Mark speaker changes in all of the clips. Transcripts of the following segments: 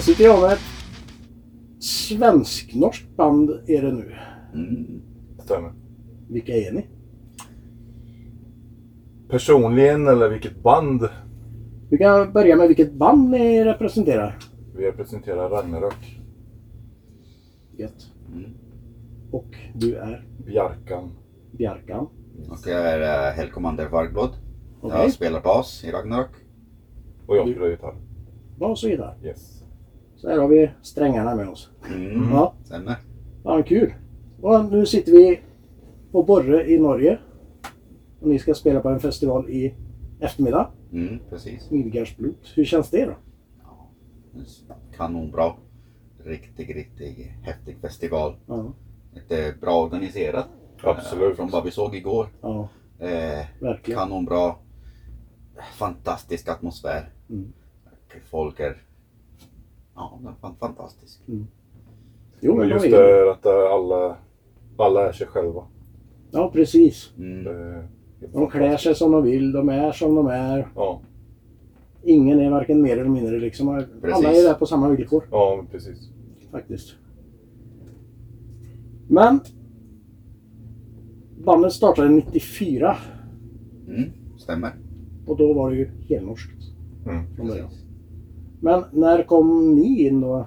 Speaker 1: sitter jag med ett svensk-norskt band är det nu.
Speaker 2: Mm.
Speaker 3: Stämmer.
Speaker 1: Vilka är ni?
Speaker 3: Personligen eller vilket band
Speaker 1: Vi kan börja med vilket band ni representerar.
Speaker 3: vi representerar Ragnarök.
Speaker 1: Gött.
Speaker 2: Mm.
Speaker 1: Och du är
Speaker 3: Bjarkan.
Speaker 1: Bjarkan.
Speaker 2: Och jag är uh, Hellcommander Vargblod.
Speaker 1: Okej.
Speaker 2: Jag spelar bas i Ragnarök.
Speaker 3: Och jag spelar gitarr.
Speaker 1: Bas och gitarr.
Speaker 3: Yes.
Speaker 1: Så här har vi strängarna med oss.
Speaker 2: Mm.
Speaker 1: Ja,
Speaker 2: Stämmer.
Speaker 1: fan kul. Och nu sitter vi på Borre i Norge. Och ni ska spela på en festival i eftermiddag.
Speaker 2: Mm, precis.
Speaker 1: Midgardsblut. Hur känns det då?
Speaker 2: Kanonbra. Riktig, riktig häftig festival.
Speaker 1: Ja,
Speaker 2: Lite bra organiserat. Eh,
Speaker 3: Absolut.
Speaker 2: Från vad vi såg igår.
Speaker 1: ja
Speaker 2: Eh,
Speaker 1: verkligen.
Speaker 2: Kanonbra. Fantastisk atmosfär.
Speaker 1: Mm.
Speaker 2: Folk är... Ja, den är fan fantastisk.
Speaker 1: Jo, men
Speaker 3: Men just
Speaker 1: de är...
Speaker 3: det att eh, alla, alla är sig själva.
Speaker 1: Ja, precis.
Speaker 3: Det
Speaker 2: Mm.
Speaker 3: är helt
Speaker 1: De klär sig som de vill, de är som de är.
Speaker 3: Ja,
Speaker 1: Ingen är varken mer eller mindre liksom. Alla är där på samma villkor
Speaker 3: ja men precis.
Speaker 1: faktiskt. Men bandet startade 94
Speaker 2: Mm, stämmer.
Speaker 1: och då var det ju helnorskt
Speaker 3: Mm.
Speaker 1: från början.
Speaker 2: Precis.
Speaker 1: Men när kom ni in då?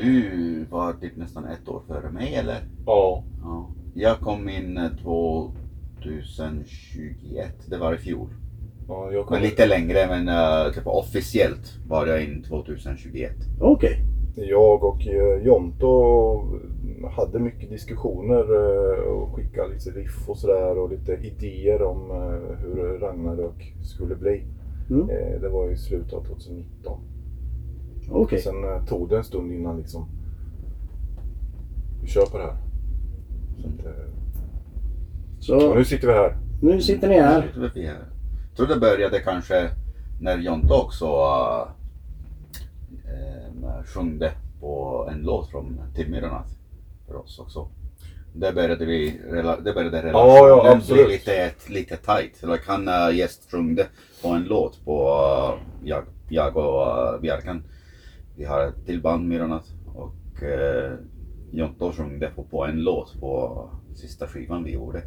Speaker 2: Du var typ nästan ett år före mig eller?
Speaker 3: Ja,
Speaker 2: Ja. Jag kom in eh, 2021, det var i fjol.
Speaker 3: ja jag
Speaker 2: Men
Speaker 3: kom,
Speaker 2: lite längre men eh, typ officiellt var jag in 2021.
Speaker 1: Okej.
Speaker 3: jag och eh, Jonto hade mycket diskussioner eh, och skickade lite riff och sådär och lite idéer om eh, hur Ragnarök skulle bli.
Speaker 1: Mm.
Speaker 3: Eh, Det var i slutet av 2019.
Speaker 1: Okej.
Speaker 3: Sen eh, tog det en stund innan liksom. Vi kör på det här. Så att, eh, och
Speaker 1: Så
Speaker 3: nu sitter vi här.
Speaker 1: nu sitter ni här.
Speaker 2: Jag tror det började kanske när Jonte också eh, eh, sjungde på en låt från Timyrarna för oss också. Där började, vi, rela- det började relationen
Speaker 3: Ja, ja,
Speaker 2: bli
Speaker 3: absolut.
Speaker 2: lite, lite tight. Like han uh, gästsjungde på en låt på eh, jag, jag och eh, Bjarkan. Vi har ett till band Myrorna och uh, Jonte sjungde på, på en låt på sista skivan vi gjorde.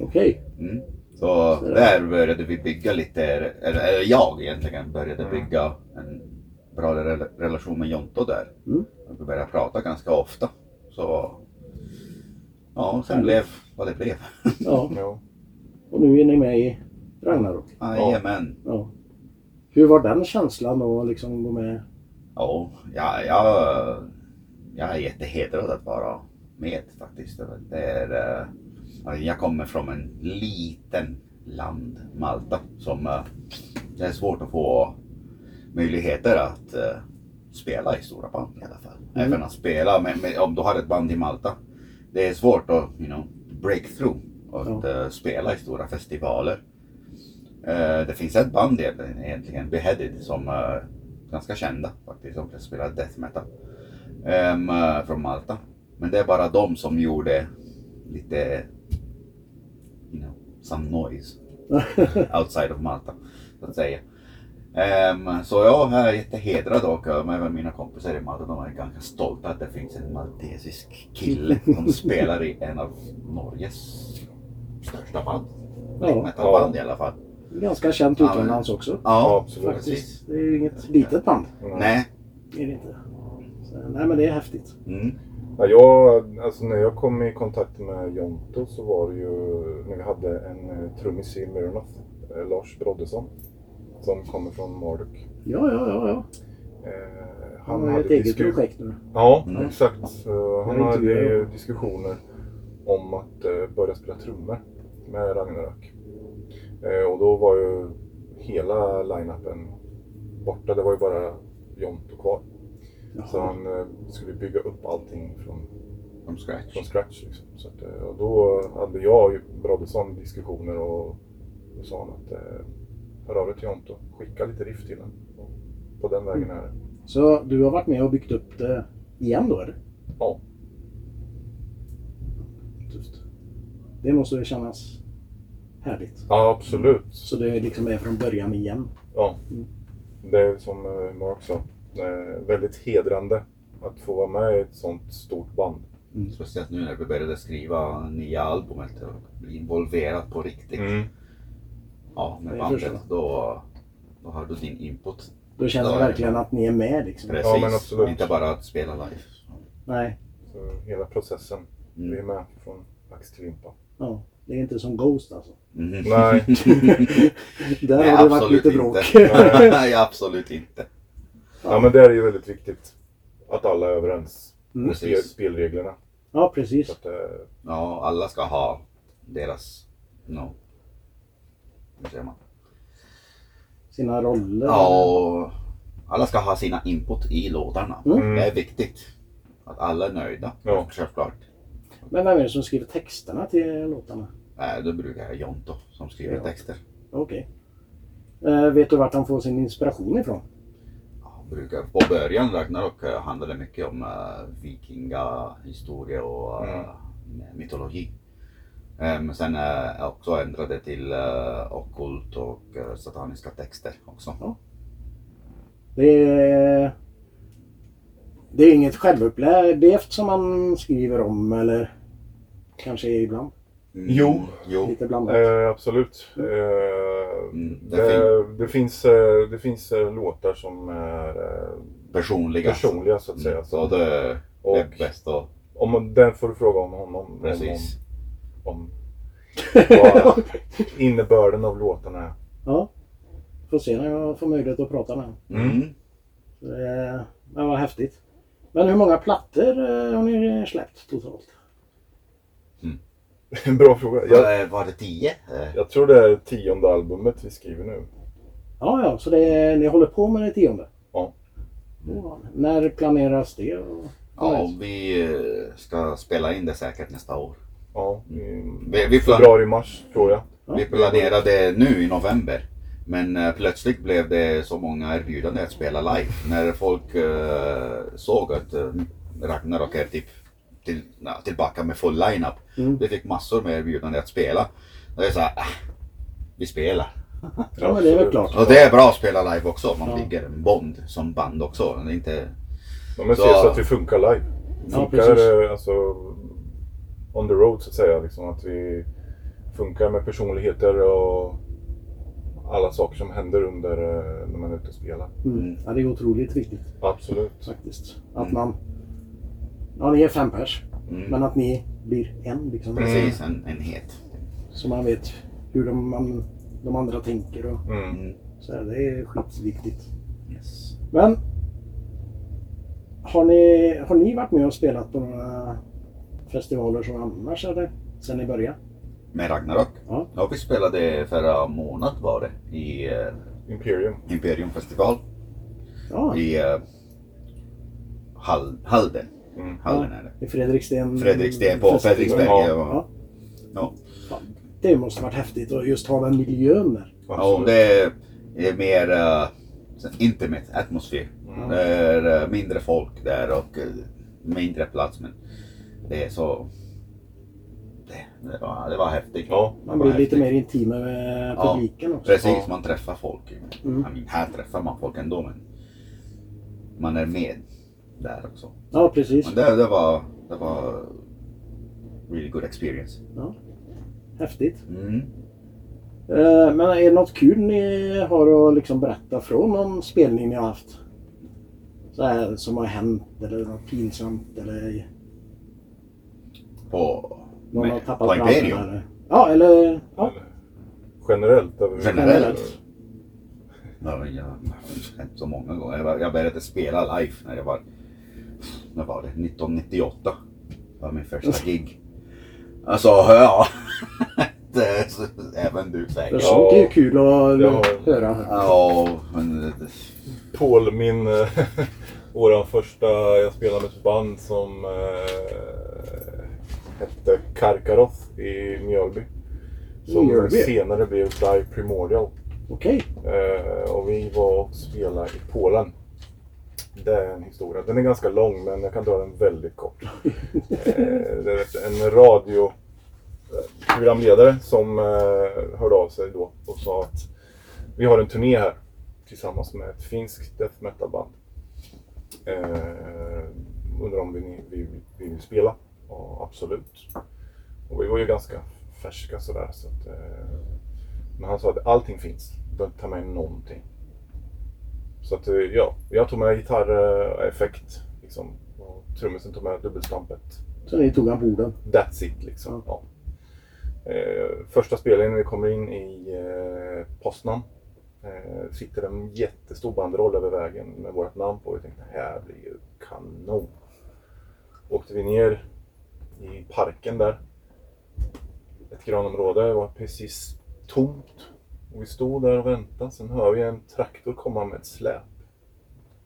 Speaker 1: Okej.
Speaker 2: Mm. Så där började vi bygga lite, eller, eller jag egentligen började bygga en bra rela- relation med Jonto där.
Speaker 1: Mm.
Speaker 2: Vi började prata ganska ofta. Så ja, sen blev vad det blev.
Speaker 1: Ja.
Speaker 3: Ja.
Speaker 1: Och nu är ni med i Ragnarok.
Speaker 2: Jajamän.
Speaker 1: Ja. Hur var den känslan då att liksom gå med?
Speaker 2: Ja, jag, jag, jag är jättehedrad att vara med faktiskt. Det är, eh, ja, jag kommer från en liten land, Malta, som eh, det är svårt att få möjligheter att eh, spela i stora band i alla fall.
Speaker 1: Mm.
Speaker 2: Även att spela, men, men om du har ett band i Malta, det är svårt att you know, break through och eh, spela i stora festivaler. Eh, det finns ett band egentligen, egentligen Beheaded, som är ganska kända faktiskt. De spelar death metal. Ehm, eh, från Malta. Men det är bara de som gjorde lite, you know, some noise outside of Malta. Så att säga. Ehm, så jag är jättehedrad och eh, men även mina kompisar i Malta de är ganska stolta att det finns en maltesisk kille som spelar i en av Norges största band.
Speaker 1: Ja.
Speaker 2: Metalband i alla fall.
Speaker 1: Ganska känt
Speaker 2: Ja, men-
Speaker 1: utomlands också.
Speaker 3: Ja, absolut.
Speaker 1: Faktiskt. Det är ju inget litet band.
Speaker 3: Mm.
Speaker 2: Nej.
Speaker 1: Det är det inte. Så, nej men det är häftigt.
Speaker 2: Mm.
Speaker 3: Ja, jag, alltså när jag kom i kontakt med Jonto så var det ju när vi hade en eh, trummis i Myrnath, eh, Lars Broddesson. Som kommer från Marduk.
Speaker 1: Ja, ja, ja. ja.
Speaker 3: Eh,
Speaker 1: Han har ju ett eget projekt nu.
Speaker 3: Ja,
Speaker 2: Mm.
Speaker 3: exakt. Så han
Speaker 1: Jag
Speaker 3: hade
Speaker 1: intervjuade
Speaker 3: ju diskussioner om att eh, börja spela trummor med Ragnarök. Eh, och då var ju hela line-upen borta. Det var ju bara Jonto kvar. Så
Speaker 1: Jaha.
Speaker 3: han eh, skulle bygga upp allting från
Speaker 2: From scratch.
Speaker 3: från scratch. Liksom. Så att, eh, och då hade jag och Broddesson diskussioner och då sa han att eh, hör av dig till Jonto, skicka lite riff till honom. Och På den vägen är det.
Speaker 1: Så du har varit med och byggt upp det igen då eller?
Speaker 3: Ja.
Speaker 1: Tufft. Det måste ju kännas härligt.
Speaker 3: Ja, absolut.
Speaker 1: Så det liksom är från början igen.
Speaker 3: Ja.
Speaker 1: Mm.
Speaker 3: Det är som eh, Mark sa, Eh, väldigt hedrande att få vara med i ett sånt stort band.
Speaker 2: Speciellt nu när vi började skriva nya albumet och bli involverad på riktigt.
Speaker 3: Mm.
Speaker 2: Ja,
Speaker 1: Det
Speaker 2: med
Speaker 1: är
Speaker 2: bandet.
Speaker 1: förstås.
Speaker 2: Då, då har du din input.
Speaker 1: Då känner
Speaker 2: Ja,
Speaker 1: man
Speaker 2: ja.
Speaker 1: verkligen att ni är med liksom.
Speaker 2: Precis.
Speaker 3: men absolut.
Speaker 2: Inte bara att spela live.
Speaker 1: Nej,
Speaker 3: Så hela processen. Vi är
Speaker 2: Mm.
Speaker 3: med från ax till limpa.
Speaker 1: ja. Det är inte som Ghost alltså.
Speaker 2: Mm.
Speaker 3: Nej.
Speaker 1: Där
Speaker 2: Nej,
Speaker 1: har det varit
Speaker 2: absolut
Speaker 1: lite bråk.
Speaker 2: Inte. Nej, absolut inte.
Speaker 3: Ja men det är ju väldigt viktigt att alla är överens
Speaker 1: Mm.
Speaker 3: om spel- spelreglerna.
Speaker 1: Ja,
Speaker 3: Så
Speaker 1: precis.
Speaker 3: att, eh,
Speaker 2: Ja, alla ska ha deras... No. Hur säger man?
Speaker 1: Sina roller.
Speaker 2: Ja, och alla ska ha sina input i låtarna.
Speaker 3: Mm.
Speaker 2: Det är viktigt. Att alla är nöjda.
Speaker 3: Ja.
Speaker 2: Självklart.
Speaker 1: Men vem är det som skriver texterna till låtarna?
Speaker 2: Nej, Äh, då brukar jag Jonto som skriver
Speaker 1: Ja.
Speaker 2: texter.
Speaker 1: Okej. Eh, vet du vart han får sin inspiration ifrån?
Speaker 2: Ja, brukar, på början Ragnarok eh, handlade mycket om uh, vikingahistoria och
Speaker 3: Mm.
Speaker 2: eh, mytologi. Eh, Men sen uh, också ändrade till uh, ockult och eh, sataniska texter också.
Speaker 1: Ja. Det är, det är inget självupplevt som man skriver om eller kanske ibland.
Speaker 2: Mm.
Speaker 3: Jo.
Speaker 2: jo.
Speaker 1: Lite blandat.
Speaker 3: eh, absolut. Eh,
Speaker 2: Mm, det
Speaker 3: det, det, finns, eh, det finns eh, låtar som är eh,
Speaker 2: Personliga.
Speaker 3: personliga så att säga.
Speaker 2: Mm.
Speaker 3: Så
Speaker 2: Så det, det är
Speaker 3: Och-
Speaker 2: bäst att...
Speaker 3: Om man, den får du fråga om honom. om-
Speaker 2: Precis.
Speaker 3: Om, om vad innebörden av låtarna är.
Speaker 1: ja. Får se när jag får möjlighet att prata med honom.
Speaker 2: Mm.
Speaker 1: Eh, Men vad häftigt. Men hur många plattor eh, har ni släppt totalt?
Speaker 3: En bra fråga. Jag,
Speaker 2: Vad, eh, Var det tio? Eh,
Speaker 3: jag tror det är tionde albumet vi skriver nu.
Speaker 1: Ja, ja, så det är, ni håller på med det tionde?
Speaker 3: Ja.
Speaker 1: Ja. När planeras det? Och-
Speaker 2: Ja, vi eh, ska spela in det säkert nästa år.
Speaker 3: Ja, i
Speaker 2: Vi, vi, plan-
Speaker 3: februari-mars tror jag.
Speaker 1: Ja.
Speaker 2: vi planerade nu i november. Men eh, plötsligt blev det så många erbjudanden att spela live. När folk eh, såg att eh, Ragnarok är typ till, na, tillbaka med full lineup.
Speaker 1: Mm.
Speaker 2: Vi fick massor med erbjudanden att spela. Och jag sa, äh, vi spelar.
Speaker 1: Ja, men det är väl
Speaker 3: Absolut.
Speaker 1: klart.
Speaker 2: Och det är bra att spela live också. Man
Speaker 1: Ja.
Speaker 2: bygger en bond som band också. Det är inte
Speaker 3: Ja, men
Speaker 2: Så-
Speaker 3: se så att vi funkar live.
Speaker 1: Ja,
Speaker 3: Funkar
Speaker 1: precis.
Speaker 3: eh, alltså on the road så att säga. Liksom, att vi funkar med personligheter och alla saker som händer under eh, när man är ute och spelar.
Speaker 1: Mm. Ja, det är otroligt viktigt
Speaker 3: Absolut.
Speaker 1: faktiskt. Att man... Ja, ni är fem pers.
Speaker 2: Mm.
Speaker 1: Men att ni blir en liksom.
Speaker 2: precis en enhet.
Speaker 1: Så man vet hur de, man, de andra tänker och
Speaker 3: Mm.
Speaker 2: Mm.
Speaker 1: så här, Det är skitviktigt.
Speaker 2: Yes.
Speaker 1: Men... Har ni, har ni varit med och spelat på några festivaler som annars eller? Sen ni började?
Speaker 2: Med Ragnarok?
Speaker 1: Ja.
Speaker 2: vi spelade förra månad var det i eh,
Speaker 3: Imperium.
Speaker 2: Imperium festival
Speaker 1: Ja,
Speaker 2: i eh, Hall, Halden.
Speaker 3: Mm.
Speaker 2: Halden är det.
Speaker 1: i Fredriksten.
Speaker 2: Fredriksten på
Speaker 1: festival.
Speaker 2: Fredriksberg.
Speaker 3: Ja.
Speaker 2: Ja. Ja.
Speaker 1: Fan, Det måste varit häftigt att just ha den miljön där.
Speaker 2: Ja, och
Speaker 3: Absolut.
Speaker 2: det är mer uh, intimate atmosfär.
Speaker 3: Mm.
Speaker 2: Det är eh, mindre folk där och eh, mindre plats men det är så... Det, det, var, det var häftigt.
Speaker 3: Ja,
Speaker 2: Det
Speaker 1: Man
Speaker 2: var
Speaker 1: blir lite mer
Speaker 2: häftigt.
Speaker 1: intim med
Speaker 2: Ja,
Speaker 1: publiken också.
Speaker 2: Precis,
Speaker 3: Ja.
Speaker 2: man träffar folk.
Speaker 1: Mm.
Speaker 2: I mean, här träffar man folk ändå men man är med där också.
Speaker 1: Ja, precis.
Speaker 2: Men det, det var, det var really good experience.
Speaker 1: Häftigt.
Speaker 2: Mm.
Speaker 1: Eh, Men är det något kul ni har att liksom berätta från någon spelning ni har haft? Så här, som har hänt eller något pinsamt eller
Speaker 2: På,
Speaker 1: någon har
Speaker 2: med,
Speaker 1: tappat
Speaker 2: på Imperium.
Speaker 1: branden, eller- Ja, eller... Ja,
Speaker 3: Generellt. över-
Speaker 2: Generellt. Ja, men jag har hänt så många gånger. Jag, var- jag började spela live när jag var, när var det? 1998. Det var min första gig. Alltså, ja. det, så, även du
Speaker 1: för
Speaker 2: säkert.
Speaker 3: Ja.
Speaker 1: sånt är ju kul att
Speaker 3: Ja.
Speaker 1: höra.
Speaker 2: Ja, men det-
Speaker 3: Paul, min... eh, våran första... Jag spelade med ett band som eh, hette Karkaroth i Mjölby. Som
Speaker 1: Mjölby?
Speaker 3: senare blev Die Primordial.
Speaker 1: Okej.
Speaker 3: Eh, och vi var och spelade i Polen. Det är en historia. Den är ganska lång men jag kan dra den väldigt kort. Eh, det är en radio eh, programledare som eh, hörde av sig då och sa att vi har en turné här tillsammans med ett finskt death metal-band. Eh, undrar om vi, vi, vi vill spela? Ja, absolut. Och vi var ju ganska färska sådär. Så att, eh, men han sa att allting finns. Du behöver inte ta med någonting. Så att, eh, ja, jag tog med gitarreffekt. Liksom. Och Trummisen tog med dubbelstampet.
Speaker 1: Så ni tog han på orden.
Speaker 3: That's it liksom. Ja. Eh, första spelningen när vi kommer in i eh, Poznan eh, sitter en jättestor banderoll över vägen med vårt namn på. Vi tänkte här blir ju kanon. Åkte vi ner i parken där. Ett grönområde var precis tomt. Och vi stod där och väntade. Sen hör vi en traktor komma med ett släp.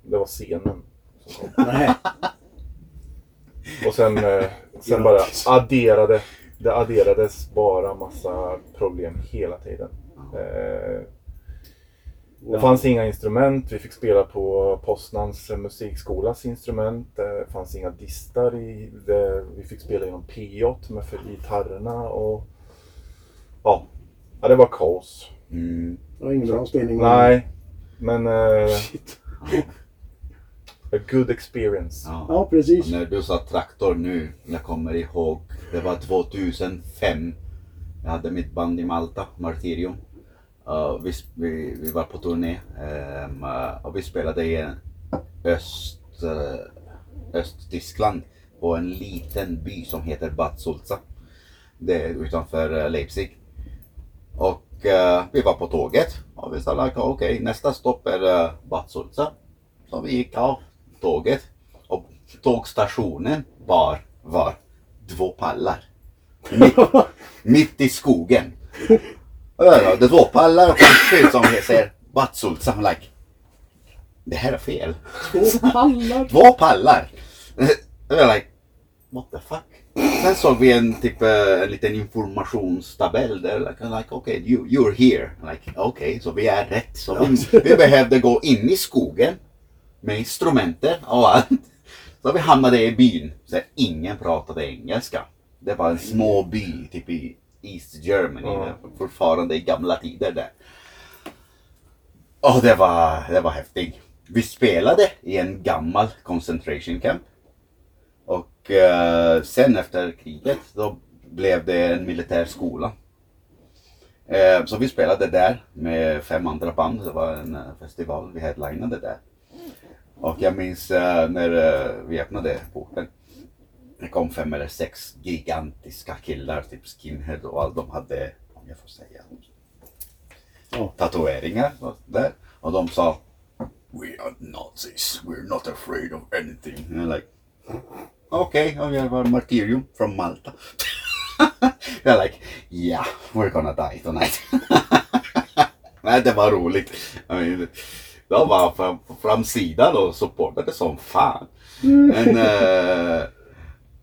Speaker 3: Det var scenen. som kom.
Speaker 1: Nej.
Speaker 3: Och sen, eh, sen bara adderade. Det adderades bara massa problem hela tiden. Eh, det fanns inga instrument. Vi fick spela på Postnans musikskolas instrument. Eh, Det fanns inga distar. I det. Vi fick spela genom P8 med för gitarrerna och... Ja. ja, det var kaos.
Speaker 2: Mm.
Speaker 1: Det var ingen bra spelning.
Speaker 3: Nej, men... eh,
Speaker 1: Shit.
Speaker 3: a good experience.
Speaker 2: Ja.
Speaker 1: Ja, precis.
Speaker 2: Och När du sa traktor nu, jag kommer ihåg, det var 2005. Jag hade mitt band i Malta, Martyrium. Uh, vi, sp- vi, vi var på turné ehm, eh, och vi spelade i en öst, eh, Östtyskland på en liten by som heter Bad Sulza. Det är utanför eh, Leipzig. Och eh, vi var på tåget och vi sa like, "Ah, okej nästa stopp är uh, Bad Sulza. Så vi gick av tåget och tågstationen var, var två pallar. Mitt, mitt i skogen. Och där var Det var två pallar och en skylt som säger Bad Sulza. I'm like, det här är fel.
Speaker 1: Två pallar.
Speaker 2: Två pallar! Jag var like, what the fuck? Sen såg vi en, typ, eh, en liten informationstabell där. Like, I'm like, okay, you, you're here. I'm Like, okay, så vi är rätt. Så vi, vi behövde gå in i skogen med instrumenten och allt. Så vi hamnade i byn. Så ingen pratade engelska. Det var en små by typ i East Germany.
Speaker 3: Ja.
Speaker 2: Fortfarande i gamla tider där. Och det var, det var häftigt. Vi spelade i en gammal concentration camp. Och eh, sen efter kriget då blev det en militär skola. Eh, så vi spelade där med fem andra band. Det var en eh, festival vi headlinade där. Och jag minns eh, när eh, vi öppnade porten. Det kom fem eller sex gigantiska killar, typ skinhead och allt. De hade, om jag får säga,
Speaker 1: Ja.
Speaker 2: tatueringar och där. Och de sa We are Nazis, we're not afraid of anything. And I'm like, Okej, okay, jag var martyrium från Malta. They're like, yeah, we're gonna die tonight. Nej, det var roligt. I mean, de var fram, framsidan och supportade som fan. Men, eh,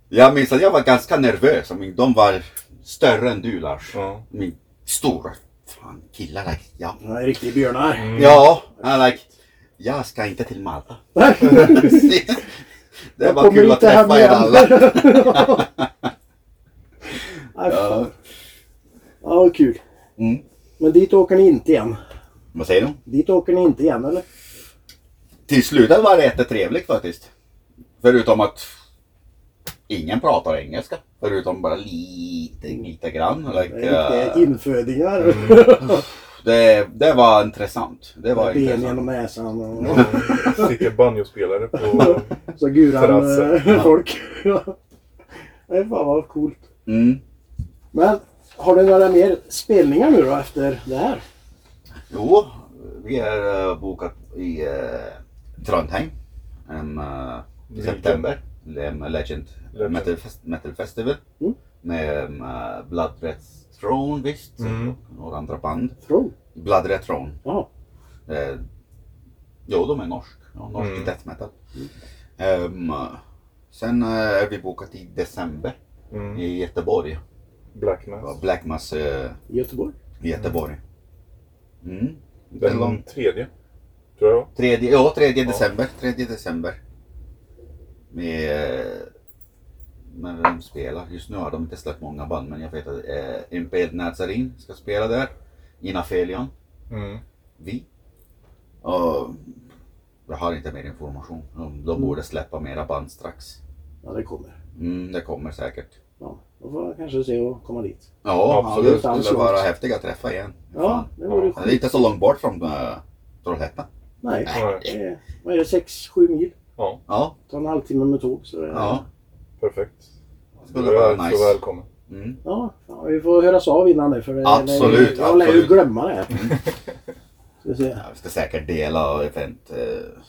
Speaker 2: jag minns att jag var ganska nervös. I mean, de var större än du Lars.
Speaker 3: Ja.
Speaker 2: I mean, stora fan, killar. Like, ja,
Speaker 1: Han är riktig björnar.
Speaker 2: ja I'm like, jag ska inte till Malta. det var kul att träffa er alla.
Speaker 1: Nej, fan. Ja, vad kul.
Speaker 2: Mm.
Speaker 1: Men dit åker ni inte igen?
Speaker 2: Vad säger du?
Speaker 1: Dit åker ni inte igen eller?
Speaker 2: Till slutet var det jättetrevligt faktiskt. Förutom att ingen pratar engelska. Förutom bara lite, lite grann. Like,
Speaker 1: Det är
Speaker 2: eh,
Speaker 1: riktiga infödingar.
Speaker 2: det, det var intressant. Det var
Speaker 1: Ben
Speaker 2: intressant.
Speaker 1: genom näsan och
Speaker 3: Sitter banjospelare på...
Speaker 1: så guran
Speaker 3: Terrasser.
Speaker 1: eh, folk. Ja. Nej, fan vad coolt.
Speaker 2: Mm.
Speaker 1: Men har du några mer spelningar nu då efter det här?
Speaker 2: Jo, vi är eh, bokat i eh, Trondheim. Um, eh, i
Speaker 3: Vilken?
Speaker 2: september. Um, Legend,
Speaker 3: Legend.
Speaker 2: Metal, Fest, Metal Festival.
Speaker 1: Mm.
Speaker 2: Med um, eh, Blood Red Throne visst.
Speaker 3: Mm.
Speaker 2: Och några andra band.
Speaker 1: Tro.
Speaker 2: Blood Red Throne.
Speaker 1: Ja.
Speaker 2: Eh, jo, de är norsk. Ja, norsk
Speaker 3: Mm.
Speaker 2: death metal. Ehm, sen eh, är vi bokat i december
Speaker 3: Mm,
Speaker 2: i Göteborg.
Speaker 3: Black
Speaker 2: Ja,
Speaker 3: Mass.
Speaker 2: Black Mass eh,
Speaker 1: I Göteborg.
Speaker 2: i Göteborg. Mm. Det är
Speaker 3: Den
Speaker 2: långt.
Speaker 3: tredje. Tror jag det var.
Speaker 2: Tredje, ja, tredje
Speaker 3: Ja.
Speaker 2: december. Tredje december. Med, eh, med vem spelar? Just nu har de inte släppt många band men jag vet att eh, Impaled Nazarene ska spela där. Inafelion.
Speaker 3: Mm.
Speaker 2: vi. Och Jag har inte mer information. De, de borde släppa mera band strax.
Speaker 1: Ja, det kommer.
Speaker 2: Mm, det kommer säkert.
Speaker 1: Ja, då får jag kanske se och komma dit.
Speaker 2: Ja,
Speaker 3: Ja,
Speaker 1: det är
Speaker 2: absolut.
Speaker 1: inte
Speaker 2: Det
Speaker 1: alls
Speaker 2: skulle vara
Speaker 1: långt.
Speaker 2: häftigt att träffa igen.
Speaker 1: Ja, det vore
Speaker 3: Ja.
Speaker 2: Fan.
Speaker 1: skönt.
Speaker 2: Det är inte så långt bort från äh, Trollhättan.
Speaker 1: Nej,
Speaker 3: Nej.
Speaker 1: det är, vad är det, 6-7 mil?
Speaker 3: Ja,
Speaker 2: Ja,
Speaker 1: Ta en halvtimme med tåg. Så det,
Speaker 2: ja.
Speaker 3: perfekt.
Speaker 2: Det
Speaker 3: Du
Speaker 2: skulle vara
Speaker 3: är så
Speaker 2: nice.
Speaker 3: välkommen.
Speaker 2: Mm.
Speaker 1: Ja, fan, vi får höras av innan det. För det
Speaker 2: Absolut,
Speaker 1: jag lär ju
Speaker 2: absolut.
Speaker 1: glömma det här. Ska vi se.
Speaker 2: Ja, vi ska säkert dela event. eh,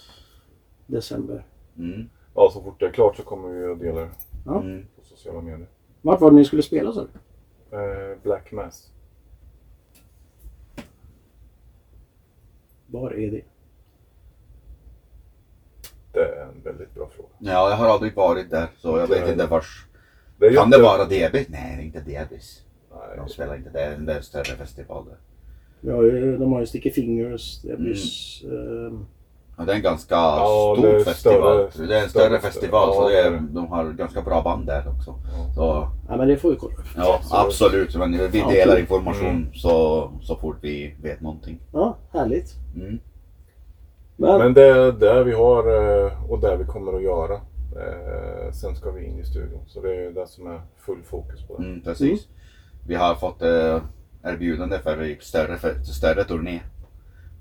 Speaker 1: December.
Speaker 2: Mm.
Speaker 3: Ja, så fort det är klart så kommer vi att dela det
Speaker 1: Ja.
Speaker 2: Mm.
Speaker 3: på sociala medier.
Speaker 1: Vart var det ni skulle spela så?
Speaker 3: Eh, Black Mass.
Speaker 1: Var är det?
Speaker 3: Det är en väldigt bra fråga.
Speaker 2: Ja, jag har aldrig varit där så jag
Speaker 3: Inte
Speaker 2: vet
Speaker 3: jag.
Speaker 2: inte vars.
Speaker 3: Det är ju
Speaker 2: Kan det
Speaker 3: inte-
Speaker 2: vara Debis? Nej, det är inte Debis.
Speaker 3: Nej,
Speaker 2: De spelar inte där. Det är en där större festival där.
Speaker 1: Vi har ju, de har ju Sticky Fingers,
Speaker 2: Mm.
Speaker 1: det blir... ehm,
Speaker 2: Ja, det är en ganska
Speaker 3: Ja,
Speaker 2: stor
Speaker 3: det är
Speaker 2: festival.
Speaker 3: större-
Speaker 2: det är en större,
Speaker 3: större
Speaker 2: festival så
Speaker 3: större.
Speaker 2: det är,
Speaker 3: Ja, det är det.
Speaker 2: de har ganska bra band där också.
Speaker 3: Ja.
Speaker 2: Så,
Speaker 1: ja, men det får vi kolla.
Speaker 2: ja,
Speaker 3: Så-
Speaker 2: absolut. Men vi
Speaker 1: Ja,
Speaker 2: delar
Speaker 1: kul.
Speaker 2: information
Speaker 3: Mm.
Speaker 2: så, så fort vi vet någonting.
Speaker 1: Ja, härligt.
Speaker 2: Mm.
Speaker 1: Men,
Speaker 3: Men det är där vi har eh, och där vi kommer att göra. Eh, Sen ska vi in i studion. Så det är det som är full fokus på det.
Speaker 2: Mm, precis. Vi har fått eh, erbjudande för en större, för, större turné.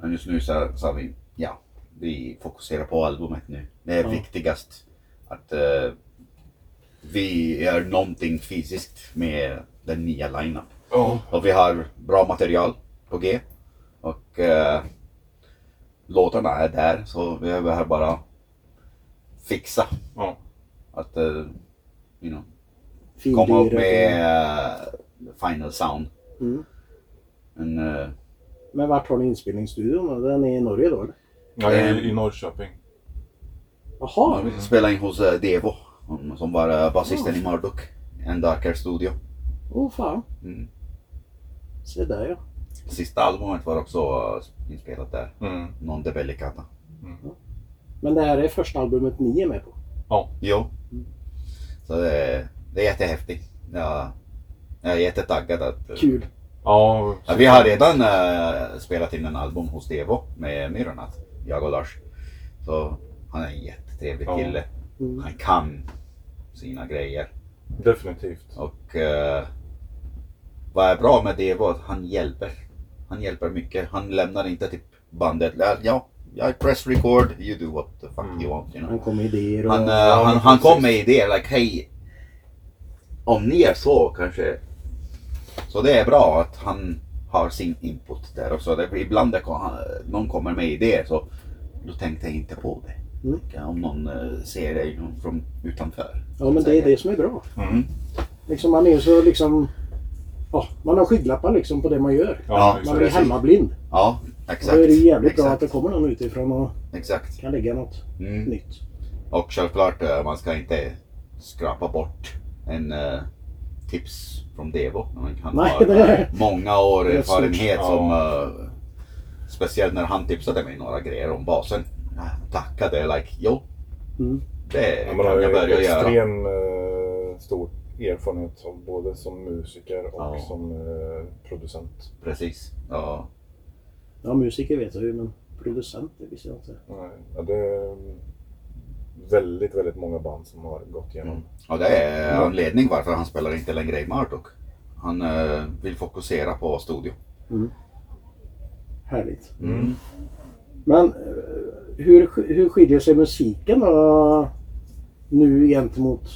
Speaker 2: Men just nu så, så har vi, ja, vi fokuserar på albumet nu. Det är
Speaker 1: Ja.
Speaker 2: viktigast att eh, vi gör någonting fysiskt med den nya line-up.
Speaker 3: Ja,
Speaker 2: Och vi har bra material på G. Och eh, låtarna är där så vi behöver bara fixa.
Speaker 3: Ja.
Speaker 2: Att eh, you know,
Speaker 1: fin
Speaker 2: komma upp
Speaker 1: lyra.
Speaker 2: med eh, final sound.
Speaker 1: Mm.
Speaker 2: Men, eh,
Speaker 1: Men vart har ni inspelningsstudion? då? Den är i Norge då eller?
Speaker 3: Nej,
Speaker 2: Ehm.
Speaker 3: i- i Norrköping.
Speaker 1: Jaha!
Speaker 2: vi spelade in hos eh, Devo hon som var eh, basisten i Marduk. En darker studio.
Speaker 1: Åh oh, fan.
Speaker 2: Mm.
Speaker 1: Se där ja.
Speaker 2: Sista albumet var också eh, inspelat där.
Speaker 3: Mm.
Speaker 2: Non de Bellicata.
Speaker 1: Men det här är första albumet ni är med på.
Speaker 2: Jo. Så det är, det är jättehäftigt. Jag, jag är jättetaggad att... eh,
Speaker 1: Kul!
Speaker 3: Ja,
Speaker 2: Ja, vi har redan eh, spelat in en album hos Devo med Myronat, jag och Lars. Så han är en jättetrevlig
Speaker 3: Ja.
Speaker 2: kille.
Speaker 1: Mm.
Speaker 2: Han kan sina grejer.
Speaker 3: definitivt.
Speaker 2: Och eh, vad är bra med Devo är att han hjälper. Han hjälper mycket. Han lämnar inte typ bandet. Ja, I press record, you do what the fuck
Speaker 3: Mm.
Speaker 2: you want. You know?
Speaker 1: Han kom med idéer och...
Speaker 2: Han, eh,
Speaker 3: Ja,
Speaker 2: han,
Speaker 3: men
Speaker 2: han kom
Speaker 3: precis.
Speaker 2: med idéer, like hej. Om ni är så kanske. Så det är bra att han har sin input där också. Det, ibland det, kom- han- någon kommer med idéer så då tänkte jag inte på det.
Speaker 1: Mm.
Speaker 2: Om någon eh, ser det ju från utanför.
Speaker 1: ja men det är det som är bra.
Speaker 3: Mm.
Speaker 1: Liksom, man är ju så liksom... Ja, man har skygglappar liksom på det man gör.
Speaker 2: Ja,
Speaker 1: Man
Speaker 3: exakt.
Speaker 1: blir
Speaker 2: precis.
Speaker 1: hemmablind.
Speaker 2: Ja,
Speaker 1: Och Då
Speaker 2: exakt.
Speaker 1: är det ju jävligt bra att
Speaker 2: exakt,
Speaker 1: det kommer någon utifrån och
Speaker 2: Exakt.
Speaker 1: kan lägga något
Speaker 2: Mm.
Speaker 1: nytt.
Speaker 2: Och självklart, eh, man ska inte skrapa bort en eh, tips från Devo. Man kan
Speaker 1: Nej,
Speaker 2: ha eh,
Speaker 1: det är-
Speaker 2: många år
Speaker 1: det är
Speaker 2: erfarenhet
Speaker 3: stort.
Speaker 2: som... eh, speciellt när han tipsade mig några grejer om basen. Jag tackade like, jo,
Speaker 1: Mm.
Speaker 2: det
Speaker 3: Ja, Man
Speaker 2: kan
Speaker 3: har
Speaker 2: jag
Speaker 3: ju
Speaker 2: börja göra.
Speaker 3: extrem eh, stor erfarenhet av både som musiker och
Speaker 2: Ja.
Speaker 3: som eh, producent.
Speaker 2: Precis. Ja.
Speaker 1: Ja, musiker vet jag ju, men producent det visste jag inte.
Speaker 3: Nej, Ja, det är väldigt, väldigt många band som har gått igenom.
Speaker 2: Och det är
Speaker 1: Mm.
Speaker 2: anledning varför han spelar inte längre i Marduk. Han eh, vill fokusera på studio.
Speaker 1: Härligt.
Speaker 2: Mm.
Speaker 1: Men eh, hur, sk- hur skiljer sig musiken då nu gentemot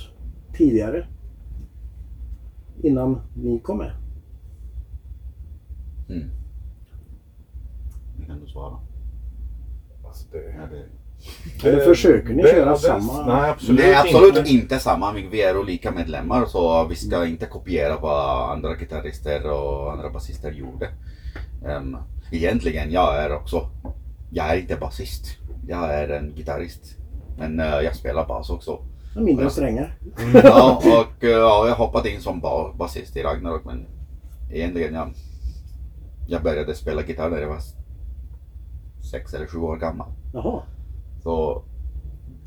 Speaker 1: tidigare? Innan ni kom med?
Speaker 2: Det kan du svara.
Speaker 3: Alltså, det,
Speaker 2: Ja, det...
Speaker 1: Eller försöker ni köra
Speaker 3: ja,
Speaker 1: samma?
Speaker 3: Nej, absolut,
Speaker 2: det är absolut inte.
Speaker 3: inte.
Speaker 2: samma, men vi är olika medlemmar så vi ska inte kopiera vad andra gitarrister och andra basister gjorde. Um, egentligen, jag är också, jag är inte basist, jag är en gitarrist. Men eh, jag spelar bas också.
Speaker 1: Ja, Mindre
Speaker 2: Ja.
Speaker 1: strängar?
Speaker 2: Ja, och eh, ja, jag hoppade in som ba- basist i Ragnarok men egentligen jag, jag började spela gitarr när jag var sex eller sju år gammal.
Speaker 1: Jaha,
Speaker 2: Så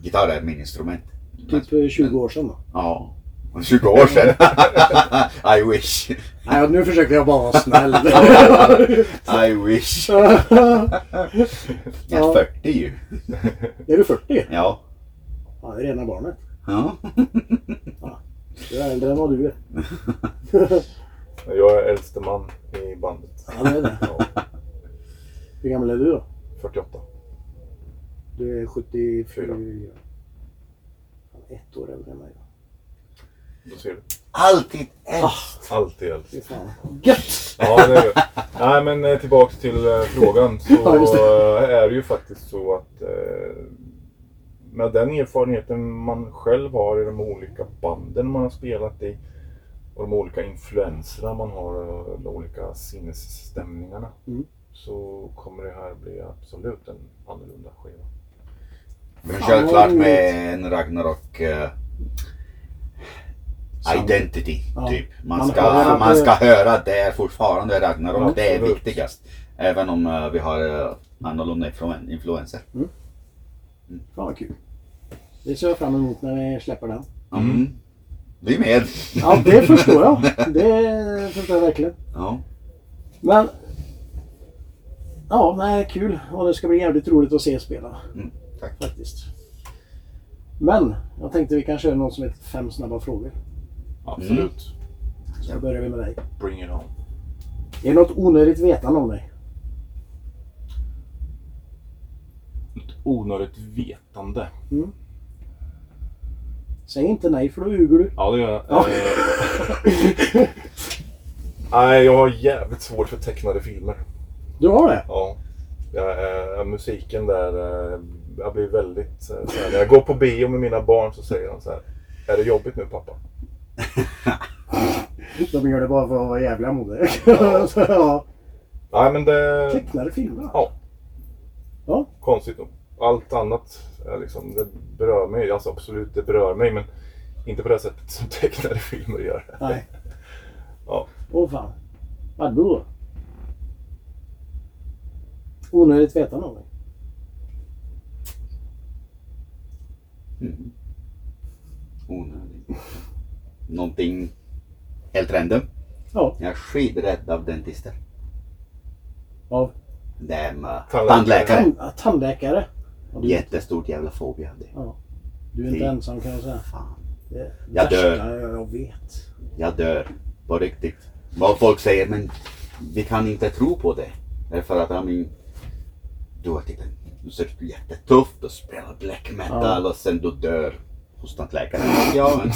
Speaker 2: gitarr är min instrument.
Speaker 1: typ eh, 20 år sedan då?
Speaker 2: Ja, 20 år sedan. I wish.
Speaker 1: Nej, nu försökte jag bara vara snäll.
Speaker 2: I wish. Jag
Speaker 1: Ja.
Speaker 2: är 40 ju.
Speaker 1: är du 40?
Speaker 2: Ja.
Speaker 1: Ja, det är rena barnet.
Speaker 2: Ja.
Speaker 1: Du är äldre än vad du är.
Speaker 3: Jag är äldste man i bandet.
Speaker 1: Ja, det är det.
Speaker 3: Ja,
Speaker 1: Hur gammal är du då?
Speaker 3: 48.
Speaker 1: Du är 74.
Speaker 3: Fyra.
Speaker 1: Han är ett år äldre än mig.
Speaker 3: Då ser du.
Speaker 2: Alltid äldst.
Speaker 3: Alltid äldst.
Speaker 1: Fy fan. Gött!
Speaker 3: Ja, det är det. Nej, men eh, tillbaks till eh, frågan. Så
Speaker 1: Ja, just
Speaker 3: eh, är det ju faktiskt så att eh, med den erfarenheten man själv har i de olika banden man har spelat i och de olika influenserna man har och de olika sinnesstämningarna
Speaker 1: Mm.
Speaker 3: så kommer det här bli absolut en annorlunda skiva.
Speaker 2: Vi
Speaker 1: Ja,
Speaker 2: kör klart
Speaker 1: roligt.
Speaker 2: med en Ragnarok eh,
Speaker 1: Sam-
Speaker 2: identity,
Speaker 1: Ja.
Speaker 2: typ. Man
Speaker 1: Man
Speaker 2: ska,
Speaker 1: hör att
Speaker 2: man
Speaker 1: det-
Speaker 2: ska höra att det är fortfarande Ragnarok,
Speaker 3: Ja,
Speaker 2: det är
Speaker 3: absolut.
Speaker 2: viktigast. Även om eh, vi har eh, annorlunda influ- influenser.
Speaker 1: Fan vad kul. Det ser jag fram emot när ni släpper den.
Speaker 2: Mm. Vi är med!
Speaker 1: Ja, det förstår jag. Det förstår jag verkligen.
Speaker 2: Ja.
Speaker 1: Men... Ja, nej, kul. Och det ska bli jävligt roligt att se er spela.
Speaker 2: Mm, tack.
Speaker 1: Faktiskt. Men, jag tänkte vi kan köra någon som heter Fem snabba frågor.
Speaker 3: Absolut.
Speaker 1: Så börjar vi med dig.
Speaker 3: Mm. Bring it on.
Speaker 1: Är det något onödigt vetande om dig?
Speaker 3: Onödigt vetande.
Speaker 1: Säg inte nej för då ljuger du.
Speaker 3: Ja, det gör jag.
Speaker 1: Ja.
Speaker 3: Eh, Nej, jag har jävligt svårt för tecknade filmer.
Speaker 1: Du har det?
Speaker 3: Ja. Jag, eh, musiken där, eh, jag blir väldigt... Eh, så här, när jag går på bio med mina barn så säger de så här. Är det jobbigt nu pappa?
Speaker 1: De gör det bara för att vara jävla mot dig.
Speaker 3: Ja.
Speaker 1: Så, ja.
Speaker 3: Nej men det...
Speaker 1: Tecknade filmer?
Speaker 3: Ja.
Speaker 1: Ja.
Speaker 3: Konstigt nog. Allt annat är liksom, det berör mig. Alltså absolut, det berör mig men inte på det sättet som tecknade filmer gör.
Speaker 1: Nej.
Speaker 3: Ja.
Speaker 1: Åh fan. Vad då? Onödigt vetande om dig.
Speaker 2: Mm. Onödigt. Någonting helt random.
Speaker 1: Ja.
Speaker 2: Jag är skiträdd av dentister.
Speaker 1: Av?
Speaker 2: Det är med
Speaker 3: Tandläkare.
Speaker 2: tandläkare.
Speaker 1: Tan- ja, tandläkare. Ja, du,
Speaker 2: Jättestort jävla fobi av det.
Speaker 1: du är inte
Speaker 2: det-
Speaker 1: ensam kan jag säga.
Speaker 2: Fan.
Speaker 1: Det är
Speaker 2: Jag
Speaker 1: värsta
Speaker 2: dör.
Speaker 1: jag vet.
Speaker 2: Jag dör. På riktigt. Vad folk säger, men vi kan inte tro på det. Därför att, I mean, du har tittat, du ser jättetuff, du spelar black metal och sen du dör hos tandläkaren. Ja, men.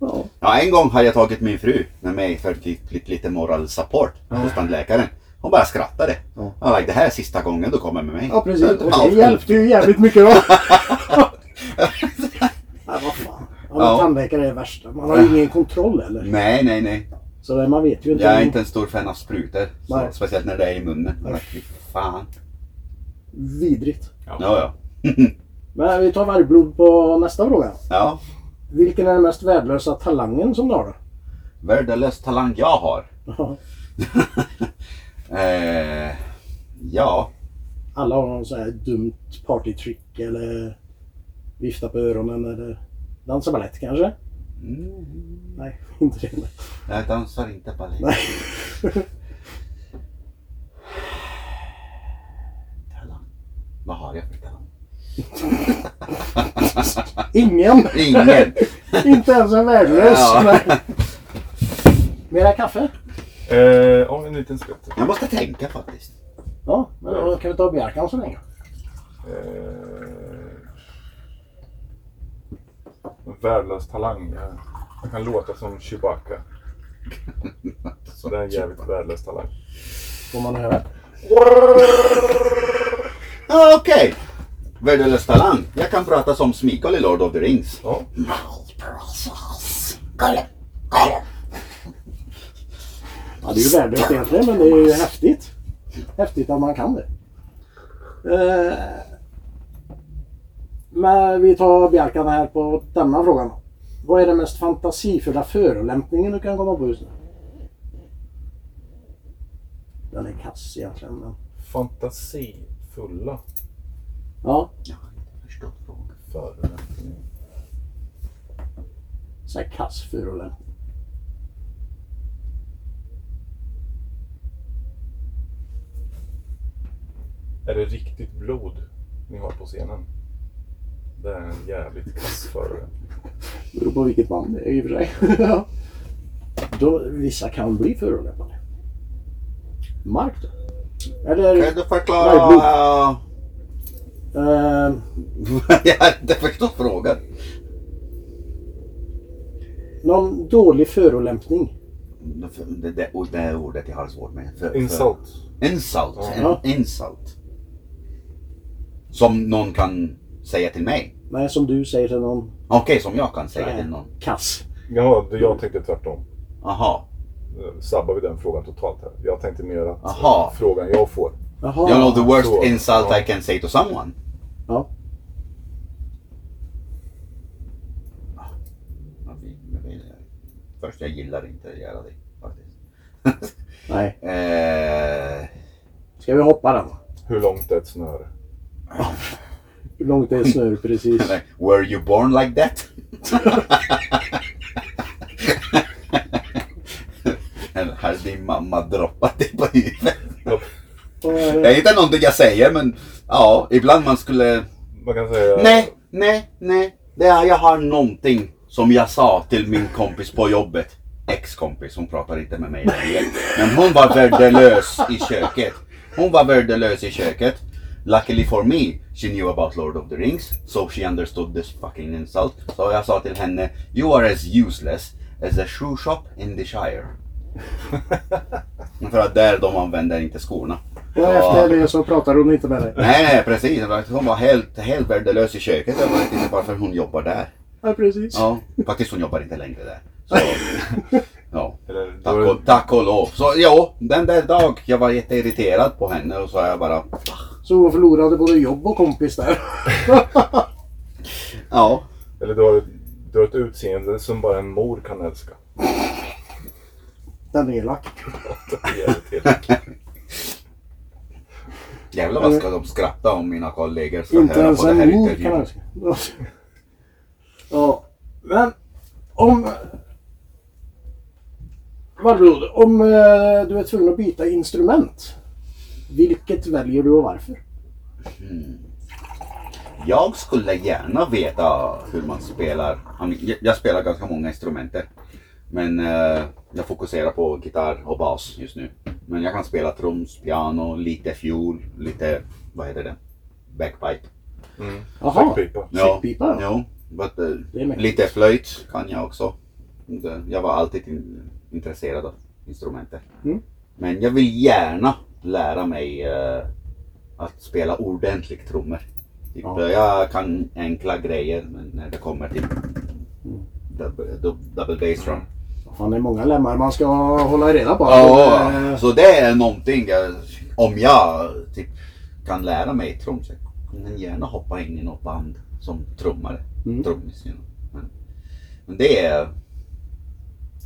Speaker 1: Ja.
Speaker 2: Ja, en gång har jag tagit min fru med mig för lite, lite, lite moral support hos tandläkaren. Hon bara skrattade.
Speaker 1: Ja.
Speaker 2: Jag like, det här är sista gången du kommer med mig.
Speaker 1: ja precis. Och
Speaker 2: Ja,
Speaker 1: det hjälpte ju jävligt mycket va? Nej vad fan. Ja, men
Speaker 2: Ja.
Speaker 1: Tandläkare är det värsta. Man har ju ingen kontroll eller.
Speaker 2: Nej, nej, nej.
Speaker 1: Så det- man vet ju inte.
Speaker 2: Jag är
Speaker 1: om-
Speaker 2: inte en stor fan av sprutor. Så,
Speaker 1: Nej.
Speaker 2: speciellt när det är i munnen. Jag bara, fy Fan.
Speaker 1: Vidrigt.
Speaker 2: Ja, ja.
Speaker 1: Men vi tar vargblod på nästa fråga.
Speaker 2: ja.
Speaker 1: Vilken är den mest värdelösa talangen som du har då?
Speaker 2: Värdelös talang jag har.
Speaker 1: Ja,
Speaker 2: eh, ja.
Speaker 1: Alla har någon sån här dumt partytrick eller vifta på öronen eller dansa balett kanske?
Speaker 2: Mm.
Speaker 1: Nej, inte det.
Speaker 2: Jag dansar inte balett.
Speaker 1: Nej.
Speaker 2: Talang. Vad har jag för talang?
Speaker 1: Ingen!
Speaker 2: Ingen!
Speaker 1: inte ens en värdelös!
Speaker 2: Ja.
Speaker 1: Nej. Mera kaffe?
Speaker 3: Eh, ja, en liten skvätt.
Speaker 2: Jag måste tänka faktiskt.
Speaker 1: Ja, men då kan vi ta Bjärkan så länge.
Speaker 3: Eh, en värdelös talang. Jag- Jag kan låta som Chewbacca. Så det är en jävligt värdelös talang.
Speaker 1: Får man höra?
Speaker 2: Ja, Okej. Värdelös talang. Jag kan prata som Smeagol i Lord of the Rings.
Speaker 3: Ja.
Speaker 1: Ja, det är ju värdelöst egentligen, men det är ju häftigt. Häftigt att man kan det. Eh, Men vi tar Bjarkan här på denna frågan. Vad är den mest fantasifulla förolämpningen du kan komma på just nu? Den är kass egentligen. Men...
Speaker 3: Fantasifulla
Speaker 1: Ja,
Speaker 2: Jag har inte förstått frågan.
Speaker 3: förolämpningar.
Speaker 1: så här kass furuläpp.
Speaker 3: Är det riktigt blod ni har på scenen? Det är en jävligt kass förare.
Speaker 1: Beror på vilket band det är i och för sig. Ja. Då, vissa kan bli förolämpade. Mark då? Eller...
Speaker 2: Kan du förklara?
Speaker 1: Nej, blod.
Speaker 2: Ja.
Speaker 1: ehm,
Speaker 2: jag har inte förstått frågan.
Speaker 1: någon dålig förolämpning.
Speaker 2: Det, det, och det är ordet jag har svårt med. För, för-
Speaker 3: Insult.
Speaker 2: Insult.
Speaker 1: Ja.
Speaker 2: En, insult. Som någon kan säga till mig.
Speaker 1: Nej, som du säger till någon.
Speaker 2: Okej, som jag kan säga
Speaker 1: eh,
Speaker 2: till någon.
Speaker 1: Kass.
Speaker 3: Jaha, det- jag tänkte tvärtom.
Speaker 2: Aha.
Speaker 3: Eh, Sabbar vi den frågan totalt här? Jag tänkte mer att
Speaker 2: Aha.
Speaker 3: frågan jag får.
Speaker 1: Jaha.
Speaker 2: You know the worst
Speaker 3: så,
Speaker 2: insult
Speaker 3: ja.
Speaker 2: I can say to someone?
Speaker 1: Ja.
Speaker 2: Först, jag gillar inte att göra det faktiskt.
Speaker 1: Nej,
Speaker 2: eh,
Speaker 1: ska vi hoppa den?
Speaker 3: Hur långt är ett snöre?
Speaker 1: Hur långt är snör precis?
Speaker 2: like, were you born like that? Eller har din mamma droppat dig på huvudet?
Speaker 1: Och, eh,
Speaker 2: Det är inte någonting jag säger men ja, ibland man skulle...
Speaker 3: Man kan säga...
Speaker 2: Nej, nej, nej. Det är, jag har någonting som jag sa till min kompis på jobbet. Ex-kompis, hon pratar inte med mig längre. Men hon var värdelös i köket. Hon var värdelös i köket. Luckily for me, she knew about Lord of the Rings, so she understood this fucking insult. Så jag sa till henne, you are as useless as a shoe shop in the Shire. För att där de använder inte skorna.
Speaker 1: och efter det så pratar hon inte med dig.
Speaker 2: Nej, nej precis. Hon var helt, helt värdelös i köket. Jag vet inte varför hon jobbar där.
Speaker 1: Ja, precis.
Speaker 2: Ja, faktiskt hon jobbar inte längre där. Så, ja.
Speaker 3: Eller,
Speaker 2: Tack
Speaker 3: då är-
Speaker 2: och, tack och lov. Så ja, den där dag jag var jätteirriterad på henne och så jag bara...
Speaker 1: Så hon förlorade både jobb och kompis där.
Speaker 2: Ja.
Speaker 3: Eller du har, ett, du har ett utseende som bara en mor kan älska.
Speaker 1: Den är elak.
Speaker 3: Det är jävligt elakt.
Speaker 2: Jävlar vad ska de skratta om mina kollegor ska
Speaker 1: Inte
Speaker 2: höra
Speaker 1: ens
Speaker 2: på det här
Speaker 1: en mor kan
Speaker 2: intervjun.
Speaker 1: önska. Ja, men om... Varblod, om eh, du är tvungen att byta instrument, vilket väljer du och varför?
Speaker 2: Jag skulle gärna veta hur man spelar. Jag- Jag spelar ganska många instrumenter. Men eh, jag fokuserar på gitarr och bas just nu. Men jag kan spela trums, piano, lite fiol, lite, vad heter det? Backpipe.
Speaker 3: Mm.
Speaker 1: Jaha.
Speaker 3: Säckpipa.
Speaker 1: Fickpipa, ja.
Speaker 2: ja. But, eh,
Speaker 1: Det är mycket.
Speaker 2: lite flöjt kan jag också. Det- Jag var alltid in, intresserad av instrumenter.
Speaker 1: Mm.
Speaker 2: Men jag vill gärna lära mig eh, att spela ordentligt trummor. Typ,
Speaker 1: Ja.
Speaker 2: eh, Jag kan enkla grejer men när det kommer till
Speaker 1: Mm.
Speaker 2: double, dub- double bass drum.
Speaker 1: Fan, det är många lemmar man ska hålla reda på.
Speaker 2: Ja,
Speaker 1: Men, eh,
Speaker 2: så det är någonting jag, om jag typ, kan lära mig trums. Jag kan gärna hoppa in i något band som trummare.
Speaker 1: Mm.
Speaker 2: Trummis. You know. men, men det är...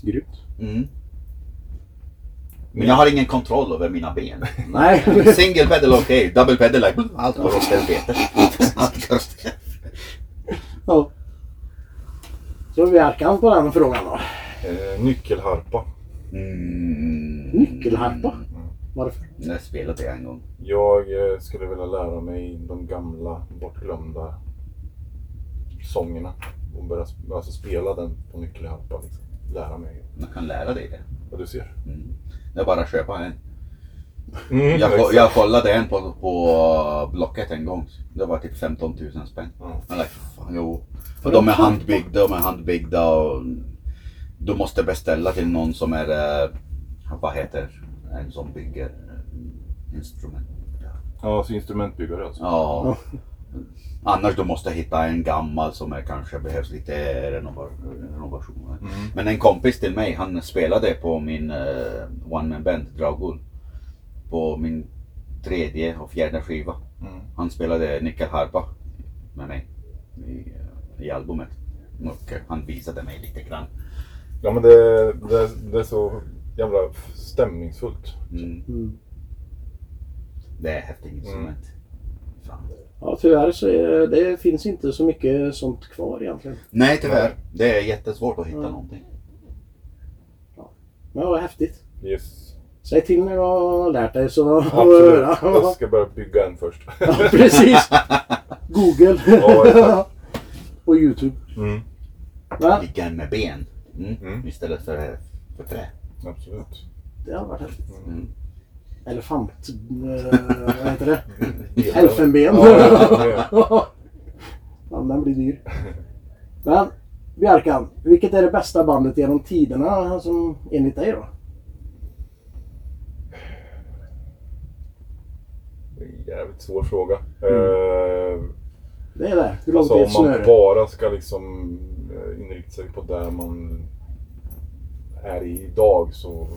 Speaker 1: Grymt.
Speaker 2: Mm. Men jag har ingen kontroll över mina ben.
Speaker 1: Nej.
Speaker 2: Single pedal okej, double pedal like, allt går åt helvete. Allt går åt-
Speaker 1: ja. Så vi harkan på den frågan då.
Speaker 3: Eh, nyckelharpa.
Speaker 2: Mm.
Speaker 1: Nyckelharpa. Varför?
Speaker 2: Jag spelade det en gång.
Speaker 3: Jag eh, skulle vilja lära mig de gamla bortglömda sångerna. Och börja sp- alltså spela den på nyckelharpa. Liksom. Lära mig.
Speaker 2: Man kan lära dig det.
Speaker 3: Vad du ser.
Speaker 2: Mm. Det är bara att köpa en.
Speaker 3: Mm,
Speaker 2: Jag, ko-
Speaker 3: exakt.
Speaker 2: jag kollade en på, på Blocket en gång. Det var typ 15 000 spänn.
Speaker 3: Ja.
Speaker 2: Jag like, fan, jo. Och de är handbyggda, de är handbyggda och du måste beställa till någon som är, eh, vad heter en som bygger eh, instrument?
Speaker 3: ja, så instrumentbyggare alltså.
Speaker 2: Ja. Annars du måste hitta en gammal som är, kanske behövs lite renova- renovationer.
Speaker 3: Mm.
Speaker 2: Men en kompis till mig, han spelade på min eh, One Man Band, Dragul. På min tredje och fjärde skiva.
Speaker 3: Mm.
Speaker 2: Han spelade nyckelharpa med mig i, eh, i albumet. Och eh, han visade mig lite grann.
Speaker 3: Ja men det, det, det är så jävla f- stämningsfullt.
Speaker 2: Mm.
Speaker 1: Mm.
Speaker 3: Mm.
Speaker 2: Det är häftigt instrument. Fan.
Speaker 1: Ja, tyvärr så är, det finns inte så mycket sånt kvar egentligen.
Speaker 2: Nej tyvärr. Det är jättesvårt att hitta
Speaker 1: Ja.
Speaker 2: någonting.
Speaker 1: Men vad häftigt.
Speaker 3: Yes.
Speaker 1: Säg till när jag har lärt dig så har du
Speaker 3: Absolut.
Speaker 1: höra.
Speaker 3: Jag ska börja bygga en först.
Speaker 1: Ja, precis. Google.
Speaker 3: Ja, exakt.
Speaker 1: och YouTube.
Speaker 3: Mm.
Speaker 1: Ja,
Speaker 2: Ligga med ben. Mm.
Speaker 3: Mm.
Speaker 2: Istället för, för trä.
Speaker 3: Absolut.
Speaker 1: det har varit häftigt.
Speaker 2: Mm.
Speaker 1: Elefant... eh, vad heter det? Elfenben.
Speaker 3: Ja,
Speaker 1: Ja, den blir dyr. Men Bjärkan, vilket är det bästa bandet genom tiderna som enligt dig då?
Speaker 3: det är en Jävligt svår fråga.
Speaker 1: Mm.
Speaker 3: Eh,
Speaker 1: Det är det. Hur långt
Speaker 3: Alltså
Speaker 1: är ett
Speaker 3: om man
Speaker 1: snöre?
Speaker 3: bara ska liksom eh, inrikta sig på där man är i idag så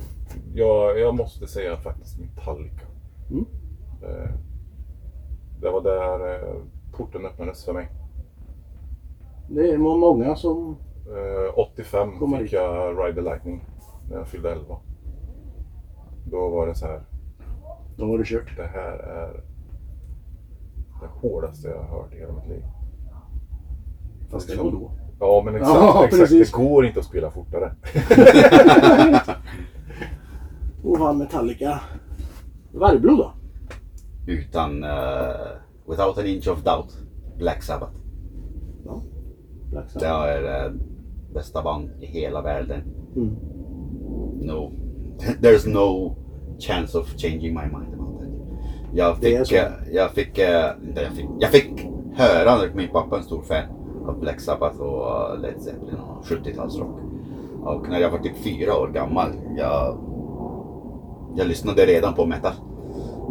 Speaker 3: jag, jag måste säga faktiskt Metallica.
Speaker 1: Mm.
Speaker 3: Eh, Det var där eh, porten öppnades för mig.
Speaker 1: Det är må- många som...
Speaker 3: Eh, 85
Speaker 1: Kommer
Speaker 3: fick
Speaker 1: dit.
Speaker 3: jag Ride the Lightning när jag fyllde 11. Då var det så här,
Speaker 1: Då var det kört.
Speaker 3: det här är det hårdaste jag har hört i hela mitt liv.
Speaker 1: Fast det
Speaker 3: Liksom.
Speaker 1: var då.
Speaker 3: Ja men exakt,
Speaker 1: Ja,
Speaker 3: exakt.
Speaker 1: precis.
Speaker 3: det går inte att spela fortare.
Speaker 1: Och han Metallica. Vargblod då?
Speaker 2: Utan... eh, without an inch of doubt. Black Sabbath.
Speaker 1: Black
Speaker 2: Det
Speaker 1: Sabbath.
Speaker 2: är det bästa band i hela världen.
Speaker 1: Mm.
Speaker 2: No. There's no chance of changing my mind about that. Jag
Speaker 1: Det är
Speaker 2: fick,
Speaker 1: så.
Speaker 2: eh, jag fick, eh, inte jag fick, jag fick höra när min pappa är en stor fan av Black Sabbath och eh, Led Zeppelin och 70-talsrock. Och när jag var typ fyra år gammal, jag, jag lyssnade redan på metal.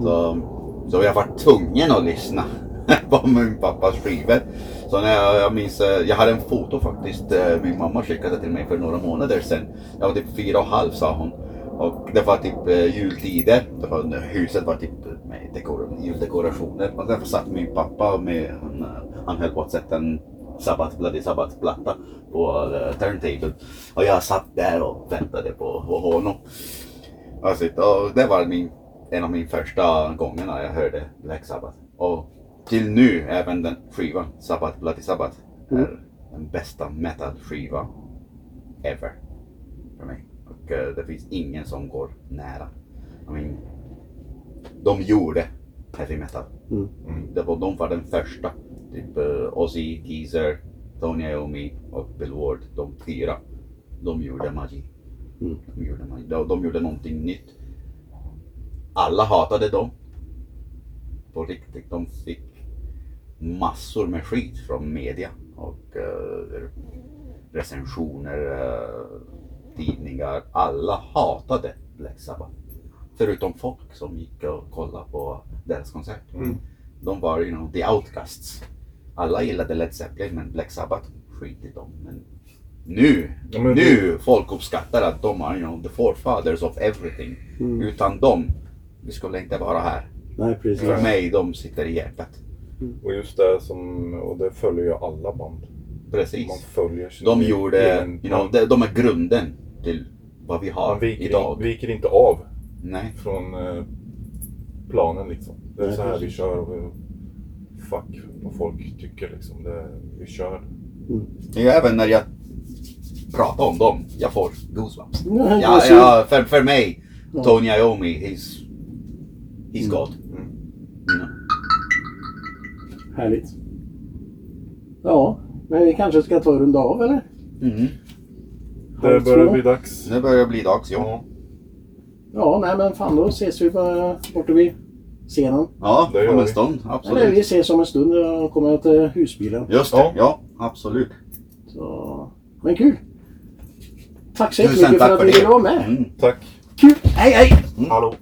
Speaker 2: Så,
Speaker 1: Mm.
Speaker 2: så jag var tvungen att lyssna på min pappas skivor. Så när jag, jag minns, eh, jag hade en foto faktiskt, eh, min mamma skickade till mig för några månader sedan. Jag var typ fyra och halv sa hon. Och det var typ eh, jultider, det var, när huset var typ med dekor, juldekorationer. Och därför satt min pappa med, han, eh, han höll på att sätta en sabbat, bloody sabbatsplatta på eh, turntable. Och jag satt där och väntade på, på honom. Alltså, och det var min, en av mina första gångerna jag hörde Black Sabbath. Och till nu, även den skivan, Sabbath Bloody Sabbath,
Speaker 1: Mm.
Speaker 2: är den bästa metal-skiva ever. För mig. Och eh, det finns ingen som går nära. I mean, de gjorde heavy metal.
Speaker 1: Mm.
Speaker 2: Det var, de var den första. Typ eh, Ozzy, Geezer, Tony Iommi och Bill Ward. De fyra. De gjorde magi.
Speaker 1: Mm.
Speaker 2: De gjorde, magi. De, de gjorde någonting nytt. Alla hatade dem. På riktigt. De fick massor med skit från media och eh, recensioner, eh, tidningar. Alla hatade Black Sabbath. Förutom folk som gick och kollade på deras konsert.
Speaker 3: Mm.
Speaker 2: De var you know, the outcasts. Alla gillade Led Zeppelin men Black Sabbath skit i dem. Men nu,
Speaker 3: Ja, men
Speaker 2: nu folk uppskattar att de är you know, the forefathers of everything.
Speaker 1: Mm.
Speaker 2: Utan dem, vi skulle inte vara här.
Speaker 1: Nej, precis.
Speaker 2: För mig, de sitter i hjärtat.
Speaker 3: Och just det som, och det följer ju alla band.
Speaker 2: Precis.
Speaker 3: Man följer sin
Speaker 2: De gjorde,
Speaker 3: egen-
Speaker 2: you know, de, de är grunden till vad vi
Speaker 3: man
Speaker 2: har
Speaker 3: viker,
Speaker 2: idag.
Speaker 3: in, viker inte av
Speaker 2: Nej,
Speaker 3: från eh, planen liksom. Det är
Speaker 1: Nej,
Speaker 3: så här vi
Speaker 1: precis.
Speaker 3: kör och vi- fuck vad folk tycker liksom. Det, vi kör.
Speaker 2: Ja, även när jag pratar om dem, jag får goosebumps.
Speaker 1: Nej,
Speaker 2: Ja,
Speaker 1: precis.
Speaker 2: ja, för, för mig,
Speaker 1: Mm, Ja.
Speaker 2: Tony Iommi, he's, he's God.
Speaker 3: Mm.
Speaker 2: You know.
Speaker 1: Härligt. Ja, men vi kanske ska ta och runda av eller?
Speaker 2: Mm.
Speaker 3: Det
Speaker 1: Halv
Speaker 3: börjar
Speaker 1: två.
Speaker 3: bli dags.
Speaker 2: Nu börjar det bli dags, ja.
Speaker 1: Ja, nej men fan då ses vi bara borta vid scenen.
Speaker 2: Ja,
Speaker 3: Det gör
Speaker 2: om en
Speaker 3: vi.
Speaker 2: stund.
Speaker 1: Eller vi
Speaker 2: Absolut.
Speaker 1: ses om en stund när jag kommer till husbilen.
Speaker 2: Just det, ja. Absolut.
Speaker 1: Så... Men kul! Tack så
Speaker 2: Tusen
Speaker 1: jättemycket för
Speaker 2: tack
Speaker 1: att
Speaker 2: för
Speaker 1: du ville vara
Speaker 2: det.
Speaker 1: med!
Speaker 2: Mm.
Speaker 3: Tack.
Speaker 1: Kul! Hej hej!
Speaker 3: Hallå.